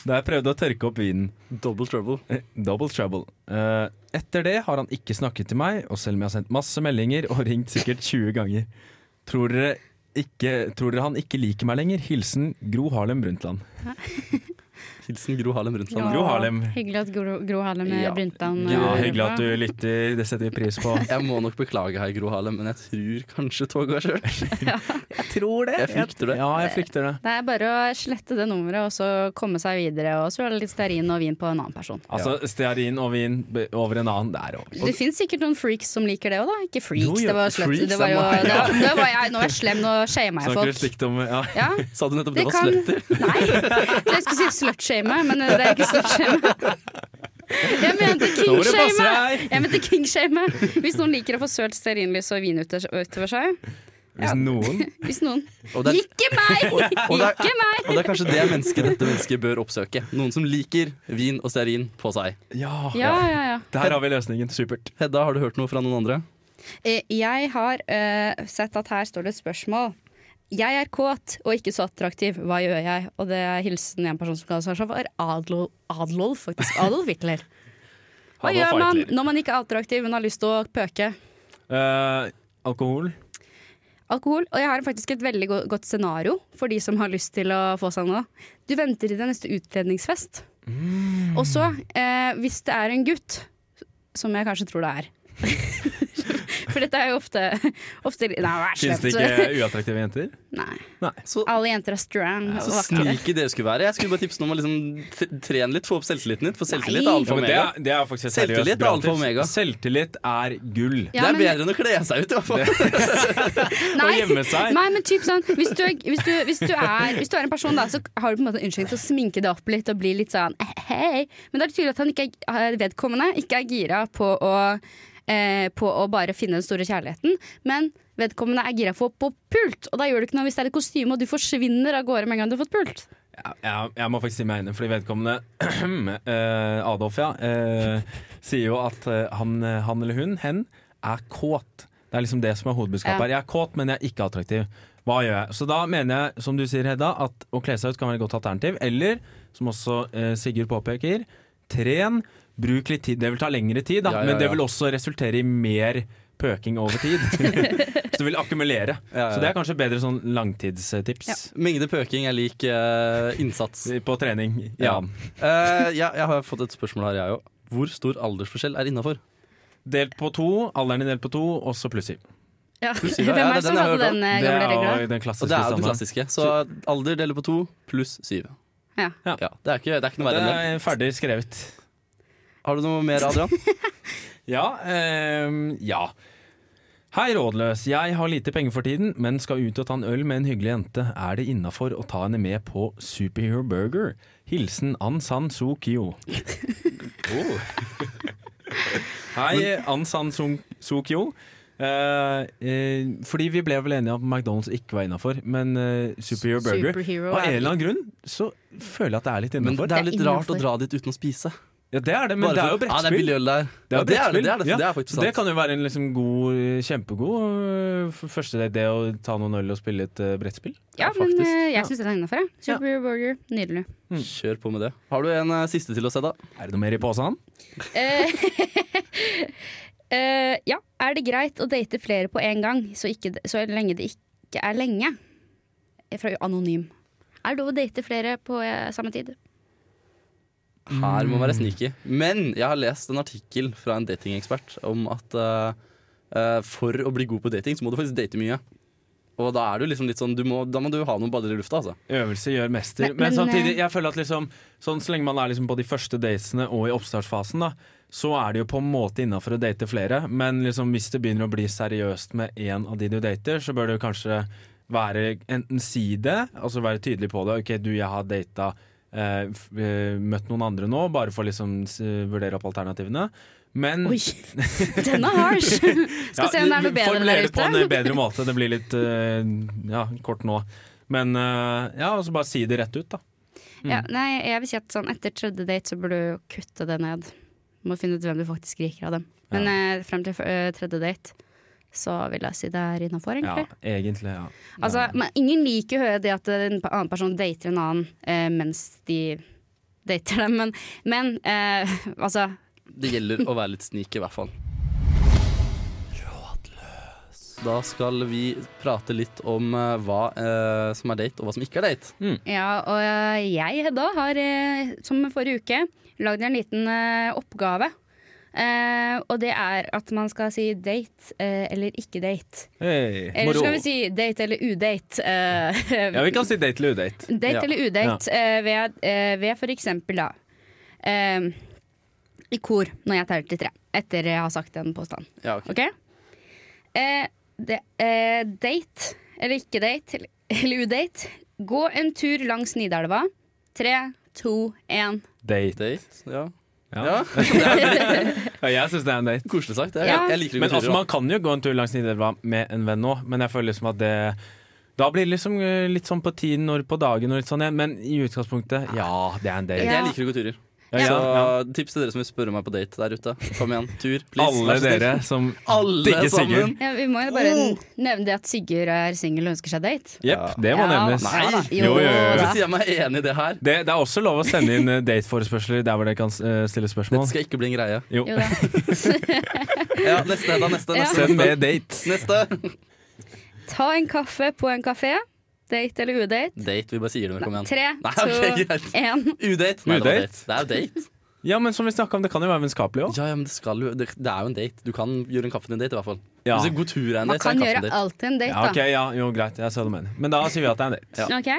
[SPEAKER 2] da jeg prøvde å tørke opp vinen.
[SPEAKER 1] Double trouble.
[SPEAKER 2] Double trouble. Eh, etter det har han ikke snakket til meg, og selv om jeg har sendt masse meldinger og ringt sikkert 20 ganger. Tror dere, ikke, tror dere han ikke liker meg lenger? Hilsen Gro Harlem Brundtland.
[SPEAKER 1] Hilsen Gro Harlem Brundtland.
[SPEAKER 3] Ja.
[SPEAKER 2] Gro Harlem.
[SPEAKER 3] Hyggelig at Gro, Gro Harlem
[SPEAKER 1] Ja.
[SPEAKER 3] Brundtland
[SPEAKER 2] Ja,
[SPEAKER 3] eh,
[SPEAKER 2] hyggelig at
[SPEAKER 3] jobber.
[SPEAKER 2] du lytter, det setter vi pris på.
[SPEAKER 1] Jeg må nok beklage her, Gro Harlem, men jeg tror kanskje toget går sjøl.
[SPEAKER 2] Jeg tror det.
[SPEAKER 1] Jeg frykter det.
[SPEAKER 2] Ja, jeg frykter det.
[SPEAKER 3] Det er bare å slette det nummeret og så komme seg videre. Og så er det litt stearin og vin på en annen person.
[SPEAKER 2] Altså, stearin og vin be- over en annen, det er over.
[SPEAKER 3] Det fins sikkert noen freaks som liker det òg, da. Ikke
[SPEAKER 2] Jo,
[SPEAKER 3] freaks,
[SPEAKER 2] ja,
[SPEAKER 3] det var slett.
[SPEAKER 1] freaks,
[SPEAKER 3] det var jo,
[SPEAKER 1] det
[SPEAKER 3] det var, det var jeg, nå er jeg slem, nå shamer
[SPEAKER 2] Snakker
[SPEAKER 3] jeg
[SPEAKER 2] Sånn du
[SPEAKER 3] folk.
[SPEAKER 2] stygt om ja.
[SPEAKER 3] Ja,
[SPEAKER 1] Sa du nettopp
[SPEAKER 3] det
[SPEAKER 1] det var
[SPEAKER 3] kan
[SPEAKER 1] sletter?
[SPEAKER 3] Nei, jeg skulle si slutshame, men det er ikke slutshame. Jeg mente
[SPEAKER 2] må du passe
[SPEAKER 3] kingshame!
[SPEAKER 2] deg!
[SPEAKER 3] Jeg mente kingshame. Hvis noen liker å få sølt stearinlys og vin utover utover seg.
[SPEAKER 2] Hvis noen
[SPEAKER 3] Hvis noen
[SPEAKER 1] Og det, er,
[SPEAKER 3] Ikke meg!
[SPEAKER 1] og det er-
[SPEAKER 3] Ikke meg!
[SPEAKER 1] og det er kanskje det mennesket dette mennesket bør oppsøke. Noen som liker vin og stearin på seg.
[SPEAKER 2] Ja.
[SPEAKER 3] Ja, ja, ja.
[SPEAKER 2] Der har vi løsningen. Supert.
[SPEAKER 1] Hedda, har du hørt noe fra noen andre?
[SPEAKER 3] Eh, Jeg har eh, sett at her står det et spørsmål. Jeg er kåt og ikke så attraktiv, hva gjør jeg? Og det er hilsen en person som kaller seg sjef, er Adolf, Adolf, faktisk. Adolf Hitler. Hva
[SPEAKER 2] Adolf
[SPEAKER 3] gjør man
[SPEAKER 2] Hitler.
[SPEAKER 3] når man ikke er attraktiv, men har lyst til å pøke?
[SPEAKER 2] Eh, alkohol.
[SPEAKER 3] Alkohol. Og jeg har faktisk et veldig go godt scenario for de som har lyst til å få seg noe. Du venter til den neste utkledningsfest.
[SPEAKER 2] Mm.
[SPEAKER 3] Og så, eh, hvis det er en gutt, som jeg kanskje tror det er For dette er jo ofte, ofte Nei, vær
[SPEAKER 2] Fins det ikke uattraktive jenter?
[SPEAKER 3] Nei.
[SPEAKER 1] Så,
[SPEAKER 3] Alle jenter er strong og
[SPEAKER 1] så
[SPEAKER 3] vakre.
[SPEAKER 1] sneaky dere skulle være. Jeg skulle bare tipse noen om å liksom t- trene litt, få opp selvtilliten ditt. For selvtillit er
[SPEAKER 3] Nei.
[SPEAKER 1] alfa
[SPEAKER 2] Ja,
[SPEAKER 1] og
[SPEAKER 2] men det,
[SPEAKER 1] omega.
[SPEAKER 2] er, det er faktisk et
[SPEAKER 1] Selvtillit
[SPEAKER 2] seriøst
[SPEAKER 1] er
[SPEAKER 2] bra
[SPEAKER 1] alfa og
[SPEAKER 2] tips.
[SPEAKER 1] omega.
[SPEAKER 2] Selvtillit er gull.
[SPEAKER 1] Det
[SPEAKER 3] Ja,
[SPEAKER 1] er
[SPEAKER 3] men-
[SPEAKER 1] bedre enn å kle seg ut, i hvert fall.
[SPEAKER 3] Nei.
[SPEAKER 2] Å gjemme seg.
[SPEAKER 3] Nei, men typ sånn hvis du, er- hvis, du, hvis, du er, hvis du er en person, da, så har du på en måte en unnskyldning til å sminke deg opp litt og bli litt sånn eh, hei. Men det er tydelig at han ikke er, vedkommende ikke er gira på å, eh, på å bare finne den store kjærligheten. Men vedkommende er gira for på pult, og da gjør du ikke noe hvis det er et kostyme og du forsvinner av gårde med en gang du har fått pult.
[SPEAKER 2] Ja, jeg, jeg må faktisk si meg enig, fordi vedkommende eh, Adolf, ja, eh, sier jo at eh, han, eh, han eller hun, hen, er kåt. Det er liksom det som er hovedbudskapet
[SPEAKER 3] Ja.
[SPEAKER 2] her. Jeg er kåt, men jeg er ikke attraktiv. Hva gjør jeg? Så da mener jeg, som du sier, Hedda, at å kle seg ut kan være et godt alternativ. Eller, som også eh, Sigurd påpeker, tren. Bruk litt tid. Det vil ta lengre tid, da,
[SPEAKER 1] Ja, ja,
[SPEAKER 2] men det
[SPEAKER 1] ja.
[SPEAKER 2] vil også resultere i mer pøking over tid. så det vil akkumulere.
[SPEAKER 1] Ja, ja,
[SPEAKER 2] Så det
[SPEAKER 1] ja.
[SPEAKER 2] er kanskje bedre sånn langtidstips.
[SPEAKER 1] Mengde pøking er lik eh, innsats.
[SPEAKER 2] På trening.
[SPEAKER 1] Ja.
[SPEAKER 2] Ja.
[SPEAKER 1] Eh, ja, jeg har fått et spørsmål her, jeg òg. Hvor stor aldersforskjell er innafor?
[SPEAKER 2] Delt på to, alderen er delt på to, og så pluss syv.
[SPEAKER 3] Ja.
[SPEAKER 1] si det.
[SPEAKER 3] Hvem
[SPEAKER 1] Ja,
[SPEAKER 3] er
[SPEAKER 1] det er
[SPEAKER 3] det
[SPEAKER 1] den
[SPEAKER 3] som
[SPEAKER 1] jeg
[SPEAKER 3] hadde
[SPEAKER 1] hørte om.
[SPEAKER 3] den eh,
[SPEAKER 2] Det
[SPEAKER 3] gamle
[SPEAKER 2] er
[SPEAKER 3] regla?
[SPEAKER 2] jo den klassiske
[SPEAKER 1] Og det er jo det
[SPEAKER 2] standarden.
[SPEAKER 1] klassiske. Så alder deler på to pluss syv.
[SPEAKER 3] Ja.
[SPEAKER 1] Ja, det, er ikke, det er ikke noe
[SPEAKER 2] Det
[SPEAKER 1] verre enn det.
[SPEAKER 2] er ferdig skrevet.
[SPEAKER 1] Har du noe mer, Adrian?
[SPEAKER 2] Ja, ehm, ja. Hei, rådløs. Jeg har lite penger for tiden, men skal ut og ta en øl med en hyggelig jente. Er det innafor å ta henne med på Superhero Burger? Hilsen An San Suu Kyo. Oh. Hei, An San Suu Suu Kyo. Eh, eh, fordi vi ble vel enige om at McDonald's ikke var innafor, men eh, Superhero Burger
[SPEAKER 3] Superhero
[SPEAKER 2] Av en
[SPEAKER 3] er-
[SPEAKER 2] eller annen grunn så føler jeg at det er litt
[SPEAKER 1] Men
[SPEAKER 2] innenfor.
[SPEAKER 1] det er jo litt
[SPEAKER 3] Det er
[SPEAKER 1] rart å
[SPEAKER 3] innenfor.
[SPEAKER 1] dra dit uten å spise.
[SPEAKER 2] Ja, det er det, men
[SPEAKER 1] Bare
[SPEAKER 2] det er jo
[SPEAKER 1] for- Ja, det er
[SPEAKER 2] brettspill.
[SPEAKER 1] billig øl der.
[SPEAKER 2] Det er,
[SPEAKER 1] Ja,
[SPEAKER 2] jo
[SPEAKER 1] det, er det,
[SPEAKER 2] brettspill.
[SPEAKER 1] det, er det,
[SPEAKER 2] Ja,
[SPEAKER 1] det er faktisk
[SPEAKER 2] så det
[SPEAKER 1] sant.
[SPEAKER 2] kan jo være en liksom god, kjempegod øh, f- første date, det å ta noen øl og spille et øh, brettspill.
[SPEAKER 3] Ja,
[SPEAKER 1] Ja,
[SPEAKER 3] men
[SPEAKER 1] faktisk.
[SPEAKER 3] eh,
[SPEAKER 2] Ja.
[SPEAKER 3] jeg syns den er innafor. Super Burger, nydelig.
[SPEAKER 2] Mm.
[SPEAKER 1] Kjør på med det. Har du en eh, siste til oss, Edda?
[SPEAKER 2] Er det noe mer i posen?
[SPEAKER 3] Eh, eh, ja, er det greit å date flere på en gang, så, ikke, så lenge det ikke er lenge? Eh, Fra Anonym. Er det lov å date flere på eh, samme tid?
[SPEAKER 1] Her
[SPEAKER 2] Mm.
[SPEAKER 1] må man være sneaky. Men jeg har lest en artikkel fra en datingekspert om at eh, eh, for å bli god på dating, så må du faktisk date mye. Og da er du liksom litt sånn du må, Da må du ha noen baller i lufta, altså.
[SPEAKER 2] Øvelse gjør mester.
[SPEAKER 3] Men-
[SPEAKER 2] Men,
[SPEAKER 3] men,
[SPEAKER 2] samtidig,
[SPEAKER 3] øh,
[SPEAKER 2] jeg føler at liksom, sånn, så lenge man er liksom på de første datene og i oppstartsfasen, da, så er det jo på en måte innafor å date flere. Men liksom, hvis det begynner å bli seriøst med én av de du dater, så bør du kanskje være enten si det, altså være tydelig på det. OK, du, jeg har data eh, f- eh, Møtt noen andre nå, bare for å liksom, s- vurdere opp alternativene. Men
[SPEAKER 3] Oi, den er harsh! Skal se om det er noe bedre
[SPEAKER 2] Formuler
[SPEAKER 3] der
[SPEAKER 2] det på en
[SPEAKER 3] ute.
[SPEAKER 2] bedre måte. Det blir litt eh, ja, kort nå. Men eh, ja, altså bare si det rett ut, da.
[SPEAKER 3] Ja,
[SPEAKER 2] Mm.
[SPEAKER 3] nei, jeg vil si at sånn, etter tredje date så burde du kutte det ned. Du må finne ut hvem du faktisk liker av dem. Men eh, frem til eh, tredje date så vil jeg si det er innafor, egentlig.
[SPEAKER 2] Ja, egentlig, ja.
[SPEAKER 3] Altså, men ingen liker å høre det at en pa- annen person dater en annen eh, mens de dater dem, men, men eh, altså
[SPEAKER 1] Det gjelder å være litt sneaky, i hvert fall. Rådløs. Da skal vi prate litt om eh, hva eh, som er date, og hva som ikke er date.
[SPEAKER 3] Ja, og eh, jeg, Hedda, har eh, som forrige uke lagd en liten eh, oppgave. Eh, og det er at man skal si date eh, eller ikke date.
[SPEAKER 2] Hey,
[SPEAKER 3] Eller
[SPEAKER 2] moro.
[SPEAKER 3] skal vi si date eller udate. eh,
[SPEAKER 2] Ja, vi kan si date eller udate.
[SPEAKER 3] Date
[SPEAKER 1] Ja.
[SPEAKER 3] eller udate eh, ved, eh, ved for eksempel da eh, I kor når jeg teller til tre Etter jeg har sagt en påstand
[SPEAKER 1] Ja, ok.
[SPEAKER 3] Ok? Eh, det- eh, date eller ikke date eller, eller udate Gå en tur langs Nidelva 3, 2, 1
[SPEAKER 2] Date.
[SPEAKER 1] Date, ja.
[SPEAKER 2] Ja. Ja, jeg syns det er en date.
[SPEAKER 1] Koselig sagt. Jeg,
[SPEAKER 3] Ja.
[SPEAKER 1] jeg liker å
[SPEAKER 2] Men
[SPEAKER 1] gå
[SPEAKER 2] altså,
[SPEAKER 1] turer.
[SPEAKER 2] man kan jo gå en tur langs Nidelva med en venn òg, men jeg føler liksom at det da blir det liksom eh, litt sånn på tiden og på dagen og litt sånn, ja. men i utgangspunktet, ja, det er en
[SPEAKER 1] da.
[SPEAKER 2] date.
[SPEAKER 3] Ja.
[SPEAKER 1] Jeg liker å gå turer.
[SPEAKER 2] Ja, ja,
[SPEAKER 1] Så
[SPEAKER 2] ja.
[SPEAKER 1] tips til dere som vil spørre meg på date der ute. Kom igjen, tur. please.
[SPEAKER 2] Alle
[SPEAKER 1] Vær så snill.
[SPEAKER 2] dere som
[SPEAKER 1] Alle
[SPEAKER 2] digger
[SPEAKER 1] sammen.
[SPEAKER 2] Sigurd.
[SPEAKER 3] ja, Vi må jo bare nevne det at Sigurd er single og ønsker seg date
[SPEAKER 2] Jepp, det må
[SPEAKER 3] Ja,
[SPEAKER 2] nevnes.
[SPEAKER 3] ja da.
[SPEAKER 1] Nei.
[SPEAKER 3] Jo,
[SPEAKER 2] Jo, jo, jo.
[SPEAKER 1] Hvorfor
[SPEAKER 3] da.
[SPEAKER 1] sier jeg meg enig i det her?
[SPEAKER 2] Det, det er også lov å sende inn eh, date-forespørsler der hvor dere kan eh, stille
[SPEAKER 1] Dette
[SPEAKER 2] spørsmål.
[SPEAKER 1] skal ikke bli en greie.
[SPEAKER 2] Jo.
[SPEAKER 3] Jo, da.
[SPEAKER 1] Ja, neste, Hedda. Neste.
[SPEAKER 3] Ja.
[SPEAKER 1] neste,
[SPEAKER 2] Send med date.
[SPEAKER 1] neste.
[SPEAKER 3] Ta en kaffe på en kafé Date eller udate
[SPEAKER 1] Date. Vi bare sier det. Kom igjen.
[SPEAKER 3] 3,
[SPEAKER 1] Nei,
[SPEAKER 3] 2,
[SPEAKER 1] ok, greit.
[SPEAKER 3] 1
[SPEAKER 1] Udate. Nei, det var
[SPEAKER 2] Udate?
[SPEAKER 1] date. Det er jo date.
[SPEAKER 2] Ja, men som vi snakket om, det kan jo være vennskapelig òg.
[SPEAKER 1] Ja, ja, men det, skal jo, det, det er jo en date. Du kan gjøre en kaffe til en date, i hvert fall.
[SPEAKER 2] Ja.
[SPEAKER 1] Hvis en god tur er en
[SPEAKER 3] Man
[SPEAKER 1] date, så er
[SPEAKER 3] kan
[SPEAKER 1] en
[SPEAKER 3] gjøre
[SPEAKER 1] kaffe en date.
[SPEAKER 3] alt til en date,
[SPEAKER 2] Ja,
[SPEAKER 3] da.
[SPEAKER 2] ok, ja, jo, greit, jeg ser hva du mener. Men da sier vi at det er en date.
[SPEAKER 1] Ja.
[SPEAKER 3] Ok.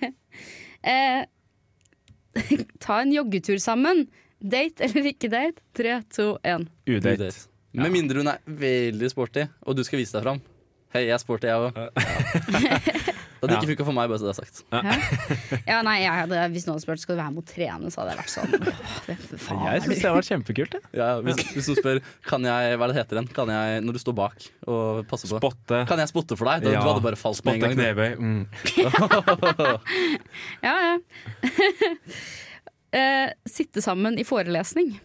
[SPEAKER 3] eh, ta en joggetur sammen. Date eller ikke date? Tre, to, én.
[SPEAKER 2] Udate.
[SPEAKER 1] Udate. Med mindre hun er veldig sporty, og du skal vise deg fram. Hei, jeg er sporty, jeg òg. Ja. Da det ikke funka for meg, bare så det er sagt.
[SPEAKER 3] Ja, nei, jeg hadde, hvis noen hadde spurt skal du være med å trene, så hadde jeg vært sånn. Åh, hvem faen
[SPEAKER 2] Jeg
[SPEAKER 3] er du?
[SPEAKER 2] syns det har vært kjempekult. jeg.
[SPEAKER 1] Ja, ja, hvis, hvis noen spør kan jeg, hva er det heter igjen, kan jeg, når du står bak og passer på
[SPEAKER 2] Spotte,
[SPEAKER 1] Kan jeg spotte for deg? Da,
[SPEAKER 2] Ja.
[SPEAKER 1] Du hadde bare falt med
[SPEAKER 2] spotte
[SPEAKER 1] en gang.
[SPEAKER 2] knebøy. Mm.
[SPEAKER 3] Ja, ja. eh, sitte sammen i forelesning.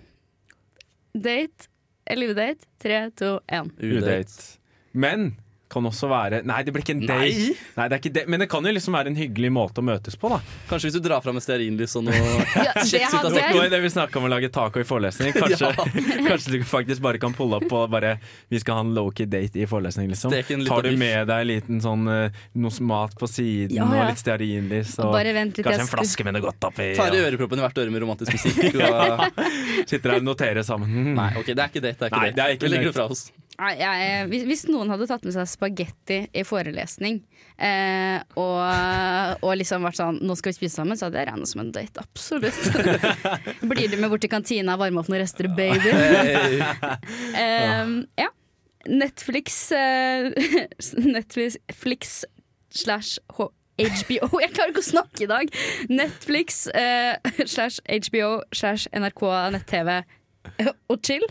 [SPEAKER 3] Date eller udate? Tre, to, én.
[SPEAKER 1] Udate.
[SPEAKER 2] Udate. Men kan også være Nei, det blir ikke en date.
[SPEAKER 1] Nei.
[SPEAKER 2] det er ikke det. Men det kan jo liksom være en hyggelig måte å møtes på, da.
[SPEAKER 1] Kanskje hvis du drar fram et stearinlys og noe
[SPEAKER 3] Ja, det
[SPEAKER 1] Shit,
[SPEAKER 3] hadde
[SPEAKER 1] sitter
[SPEAKER 2] Nå
[SPEAKER 3] jeg.
[SPEAKER 2] er det vi snakka om å lage taco i forelesning. Kanskje, kanskje du faktisk bare kan pulle opp og bare Vi skal ha en low-key date i forelesning, liksom.
[SPEAKER 1] Stek en liten
[SPEAKER 2] Tar du
[SPEAKER 1] biff.
[SPEAKER 2] med deg en liten sånn eh, noe mat på siden
[SPEAKER 3] Ja, ja.
[SPEAKER 2] og litt stearinlys og
[SPEAKER 3] Bare vent litt, jeg
[SPEAKER 2] Kanskje en
[SPEAKER 3] skulle-
[SPEAKER 2] flaske med noe godt oppi.
[SPEAKER 1] Tar i
[SPEAKER 2] og
[SPEAKER 1] øreproppen i hvert øre med romantisk musikk. Og,
[SPEAKER 2] Sitter der og noterer sammen.
[SPEAKER 1] nei, ok, det er ikke date. Det er ikke
[SPEAKER 2] Nei,
[SPEAKER 1] date.
[SPEAKER 2] det er ikke
[SPEAKER 1] Vi legger
[SPEAKER 2] date.
[SPEAKER 1] det fra oss.
[SPEAKER 3] Nei, jeg, hvis, hvis noen hadde tatt med seg spagetti i forelesning eh, og, og liksom vært sånn 'nå skal vi spise sammen', så hadde jeg regna som en date. Absolutt. Blir du med bort til kantina og varme opp noen rester, baby? Eh, ja. Netflix eh, Netflix slash H- HBO Jeg klarer ikke å snakke i dag! Netflix eh, slash HBO slash NRK nett-TV og chill.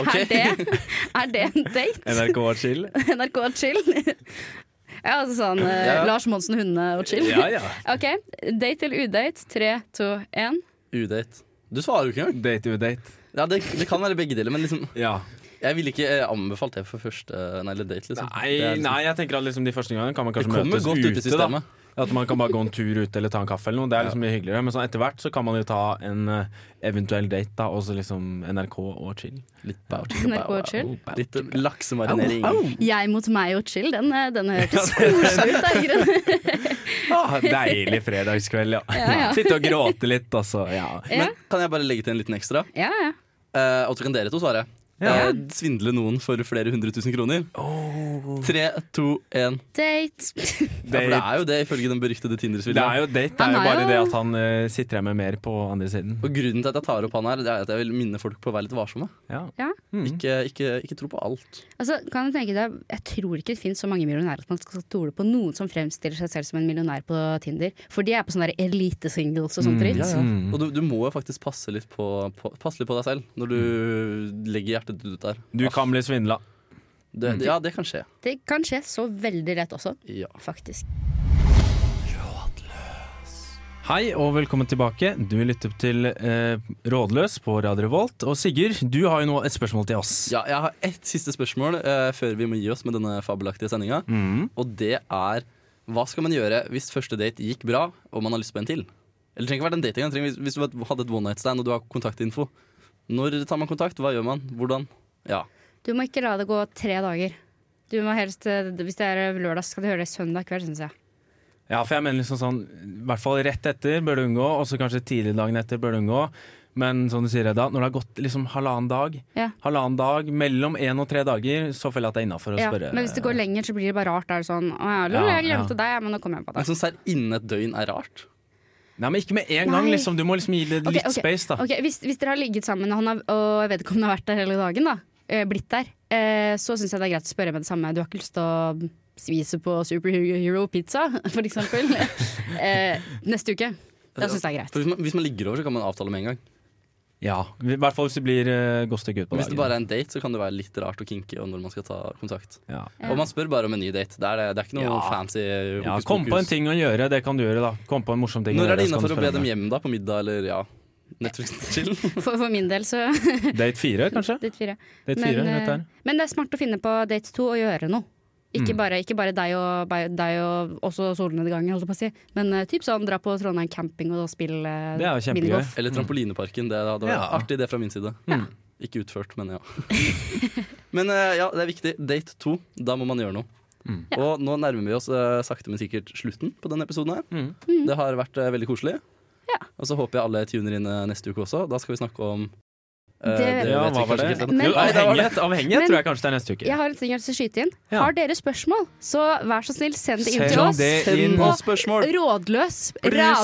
[SPEAKER 1] Ok.
[SPEAKER 3] Er, det, er det en date?
[SPEAKER 2] NRK og chill.
[SPEAKER 3] NRK og chill? ja, altså sånn eh,
[SPEAKER 1] Ja.
[SPEAKER 3] Lars Monsen Hunde og chill.
[SPEAKER 2] Ja, ja.
[SPEAKER 3] OK. Date eller udate? Tre, to, én.
[SPEAKER 1] Udate. Du svarer jo ikke engang.
[SPEAKER 2] Date udate.
[SPEAKER 1] Ja, det, det kan være begge deler, men liksom,
[SPEAKER 2] Ja.
[SPEAKER 1] jeg ville ikke eh, anbefalt det for første Nei, eller date, liksom.
[SPEAKER 2] Nei,
[SPEAKER 1] Det er liksom-
[SPEAKER 2] nei, jeg tenker at liksom de første gangene kan man
[SPEAKER 1] Det
[SPEAKER 2] kanskje
[SPEAKER 1] kommer
[SPEAKER 2] møtes
[SPEAKER 1] godt ut i
[SPEAKER 2] ute. da.
[SPEAKER 1] systemet.
[SPEAKER 2] At man kan bare gå en tur ute eller ta en kaffe eller noe. Det er liksom mye hyggeligere. Men sånn etter hvert så kan man jo ta en eh, eventuell date, da. Og så liksom NRK og chill.
[SPEAKER 1] Litt bow, chicka,
[SPEAKER 3] NRK
[SPEAKER 1] bow,
[SPEAKER 3] og chill.
[SPEAKER 1] wow. Litt eh, laksemarinering.
[SPEAKER 3] Jeg mot meg og chill, den, eh, den hørtes koselig ut. av grunnen.
[SPEAKER 2] Ah, deilig fredagskveld, ja.
[SPEAKER 3] ja.
[SPEAKER 2] Sitte og gråte litt, altså. Ja.
[SPEAKER 3] Ja,
[SPEAKER 1] Men kan jeg bare legge til en liten ekstra?
[SPEAKER 3] ja, ja.
[SPEAKER 1] Eh, og så kan dere to svare.
[SPEAKER 2] Ja.
[SPEAKER 1] Eh, svindle noen for flere hundre tusen kroner.
[SPEAKER 2] Oh.
[SPEAKER 1] Tre, to, én.
[SPEAKER 3] Date.
[SPEAKER 1] Ja, for det
[SPEAKER 2] Date.
[SPEAKER 1] er jo det, ifølge den beryktede
[SPEAKER 2] Det er
[SPEAKER 1] Tinder-svindleren.
[SPEAKER 2] jo date. Det er jo
[SPEAKER 3] Han er
[SPEAKER 2] bare
[SPEAKER 3] jo-
[SPEAKER 2] det at han eh, sitter her med mer på andre siden.
[SPEAKER 1] Og grunnen til at jeg tar opp han her, Det er at jeg vil minne folk på å være litt varsomme.
[SPEAKER 2] Ja.
[SPEAKER 3] Ja.
[SPEAKER 1] Ikke, ikke, ikke tro på alt.
[SPEAKER 3] Altså, kan du tenke deg, Jeg tror ikke det finnes så mange millionærer at man skal stole på noen som fremstiller seg selv som en millionær på Tinder. For de er på sånne der elite-singles og sånt dritt.
[SPEAKER 1] Og du, du må jo faktisk passe litt på, på, passe litt på deg selv når du legger hjertet ditt ut der.
[SPEAKER 2] Du kan bli svindla.
[SPEAKER 1] Det, ja, det kan skje.
[SPEAKER 3] Det kan skje så veldig lett også,
[SPEAKER 1] Ja.
[SPEAKER 3] faktisk.
[SPEAKER 2] Hei og velkommen tilbake. Du lytter til eh, Rådløs på Radio Revolt. Og Sigurd, du har jo nå et spørsmål til oss.
[SPEAKER 1] Ja, jeg har ett siste spørsmål eh, før vi må gi oss med denne fabelaktige sendinga. Og det er hva skal man gjøre hvis første date gikk bra og man har lyst på en til? Eller det trenger ikke være en date engang. det trenger- Hvis, hvis du hadde et one night stand og du har kontaktinfo, når tar man kontakt? Hva gjør man? Hvordan? Ja.
[SPEAKER 3] Du må ikke la det gå tre dager. Du må helst, eh, Hvis det er lørdag, skal du høre det søndag kveld, syns jeg.
[SPEAKER 2] Ja, for jeg mener liksom sånn I hvert fall rett etter bør du unngå, og så kanskje tidlig dagen etter bør du unngå. Men som du sier, Edda, når det har gått liksom halvannen dag,
[SPEAKER 3] Ja.
[SPEAKER 2] halvannen dag mellom én og tre dager, så føler jeg at det er innafor å
[SPEAKER 3] Ja,
[SPEAKER 2] spørre.
[SPEAKER 3] men hvis det går lenger, så blir det bare rart. Da er det sånn Å ja, lol,
[SPEAKER 2] Ja,
[SPEAKER 3] jeg glemte
[SPEAKER 2] ja.
[SPEAKER 3] deg, men nå kom jeg på
[SPEAKER 1] Men
[SPEAKER 3] deg.
[SPEAKER 1] sånn serr innen et døgn er rart.
[SPEAKER 2] Nei, men ikke med en gang,
[SPEAKER 3] Nei.
[SPEAKER 2] liksom. Du må liksom gi det
[SPEAKER 3] Ok,
[SPEAKER 2] litt
[SPEAKER 3] ok,
[SPEAKER 2] space, da.
[SPEAKER 3] Ok, hvis, hvis dere har ligget sammen og, han har, og vedkommende har vært der hele dagen, da, eh, blitt der, eh, så syns jeg det er greit å spørre med det samme. Du har ikke lyst til å svise på superhero-pizza, for eksempel. eh, neste uke. Da syns jeg det er greit.
[SPEAKER 1] For hvis, man, hvis man ligger over, så kan man avtale med en gang.
[SPEAKER 2] Ja, I hvert fall hvis det blir uh, godt stykke ut på
[SPEAKER 1] Men hvis det
[SPEAKER 2] dagen.
[SPEAKER 1] bare er en date, så kan det være litt rart og kinky om når man skal ta kontakt.
[SPEAKER 2] ja.
[SPEAKER 3] Ja.
[SPEAKER 1] Og man spør bare om en ny date. Det er, det, det er ikke noe
[SPEAKER 2] Ja.
[SPEAKER 1] fancy
[SPEAKER 2] ja,
[SPEAKER 1] hokus
[SPEAKER 2] kom på en
[SPEAKER 1] pokus.
[SPEAKER 2] ting å gjøre, det kan du gjøre, da. Kom på en morsom ting
[SPEAKER 1] Når er det
[SPEAKER 2] så kan
[SPEAKER 1] innafor
[SPEAKER 2] du
[SPEAKER 1] å
[SPEAKER 2] spørre
[SPEAKER 1] be dem
[SPEAKER 2] om
[SPEAKER 1] hjem, da? På middag eller ja, Netflix-chill?
[SPEAKER 3] For, for min del, så
[SPEAKER 2] det. Date fire, kanskje?
[SPEAKER 3] Date fire.
[SPEAKER 2] Date
[SPEAKER 3] Men,
[SPEAKER 2] fire,
[SPEAKER 3] eh,
[SPEAKER 2] dette her.
[SPEAKER 3] men det er smart å finne på date to og gjøre noe. Ikke,
[SPEAKER 2] Mm.
[SPEAKER 3] bare, ikke bare deg og, bare deg og også solnedgangen, holdt jeg på å si. Men eh, typ sånn, dra på Trondheim camping og spille eh,
[SPEAKER 2] Det er jo kjempegøy.
[SPEAKER 3] minigolf.
[SPEAKER 1] Eller Trampolineparken. Det hadde vært
[SPEAKER 2] Ja.
[SPEAKER 1] artig, det fra min side. Ikke utført, men ja. men eh, ja, det er viktig. Date to. Da må man gjøre noe.
[SPEAKER 2] Mm.
[SPEAKER 1] Og nå nærmer vi oss eh, sakte, men sikkert slutten på denne episoden. her
[SPEAKER 2] Mm.
[SPEAKER 1] Det har vært eh, veldig koselig.
[SPEAKER 3] Ja.
[SPEAKER 1] Og så håper jeg alle tuner inn eh, neste uke også. Da skal vi snakke om eh,
[SPEAKER 3] Det-
[SPEAKER 1] det
[SPEAKER 2] Ja,
[SPEAKER 1] vet vi
[SPEAKER 2] hva var
[SPEAKER 1] kanskje
[SPEAKER 2] det?
[SPEAKER 1] ikke
[SPEAKER 3] Men-
[SPEAKER 1] ennå.
[SPEAKER 2] Jo,
[SPEAKER 1] Nei, det var det.
[SPEAKER 2] avhengighet avhengighet
[SPEAKER 3] Men-
[SPEAKER 2] tror jeg kanskje det er neste uke.
[SPEAKER 3] Jeg har en ting jeg vil skyte inn.
[SPEAKER 2] Ja.
[SPEAKER 3] Har dere spørsmål, så vær så snill, send det inn til
[SPEAKER 2] Send
[SPEAKER 3] oss.
[SPEAKER 2] det
[SPEAKER 1] Send
[SPEAKER 2] inn.
[SPEAKER 1] noen Eh, spørsmål.
[SPEAKER 3] Rådløs,
[SPEAKER 2] Please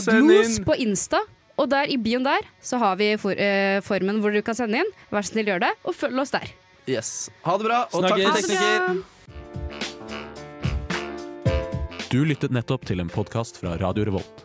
[SPEAKER 2] send
[SPEAKER 3] radlos
[SPEAKER 2] inn.
[SPEAKER 3] på Insta. Og der i bioen der så har vi for, eh, formen hvor du kan sende inn. Vær så snill, gjør det, og følg oss der.
[SPEAKER 1] Yes. Ha det bra, og takk til
[SPEAKER 2] Snakkes.
[SPEAKER 1] tekniker.
[SPEAKER 4] Du lyttet nettopp til en podkast fra Radio Revolt.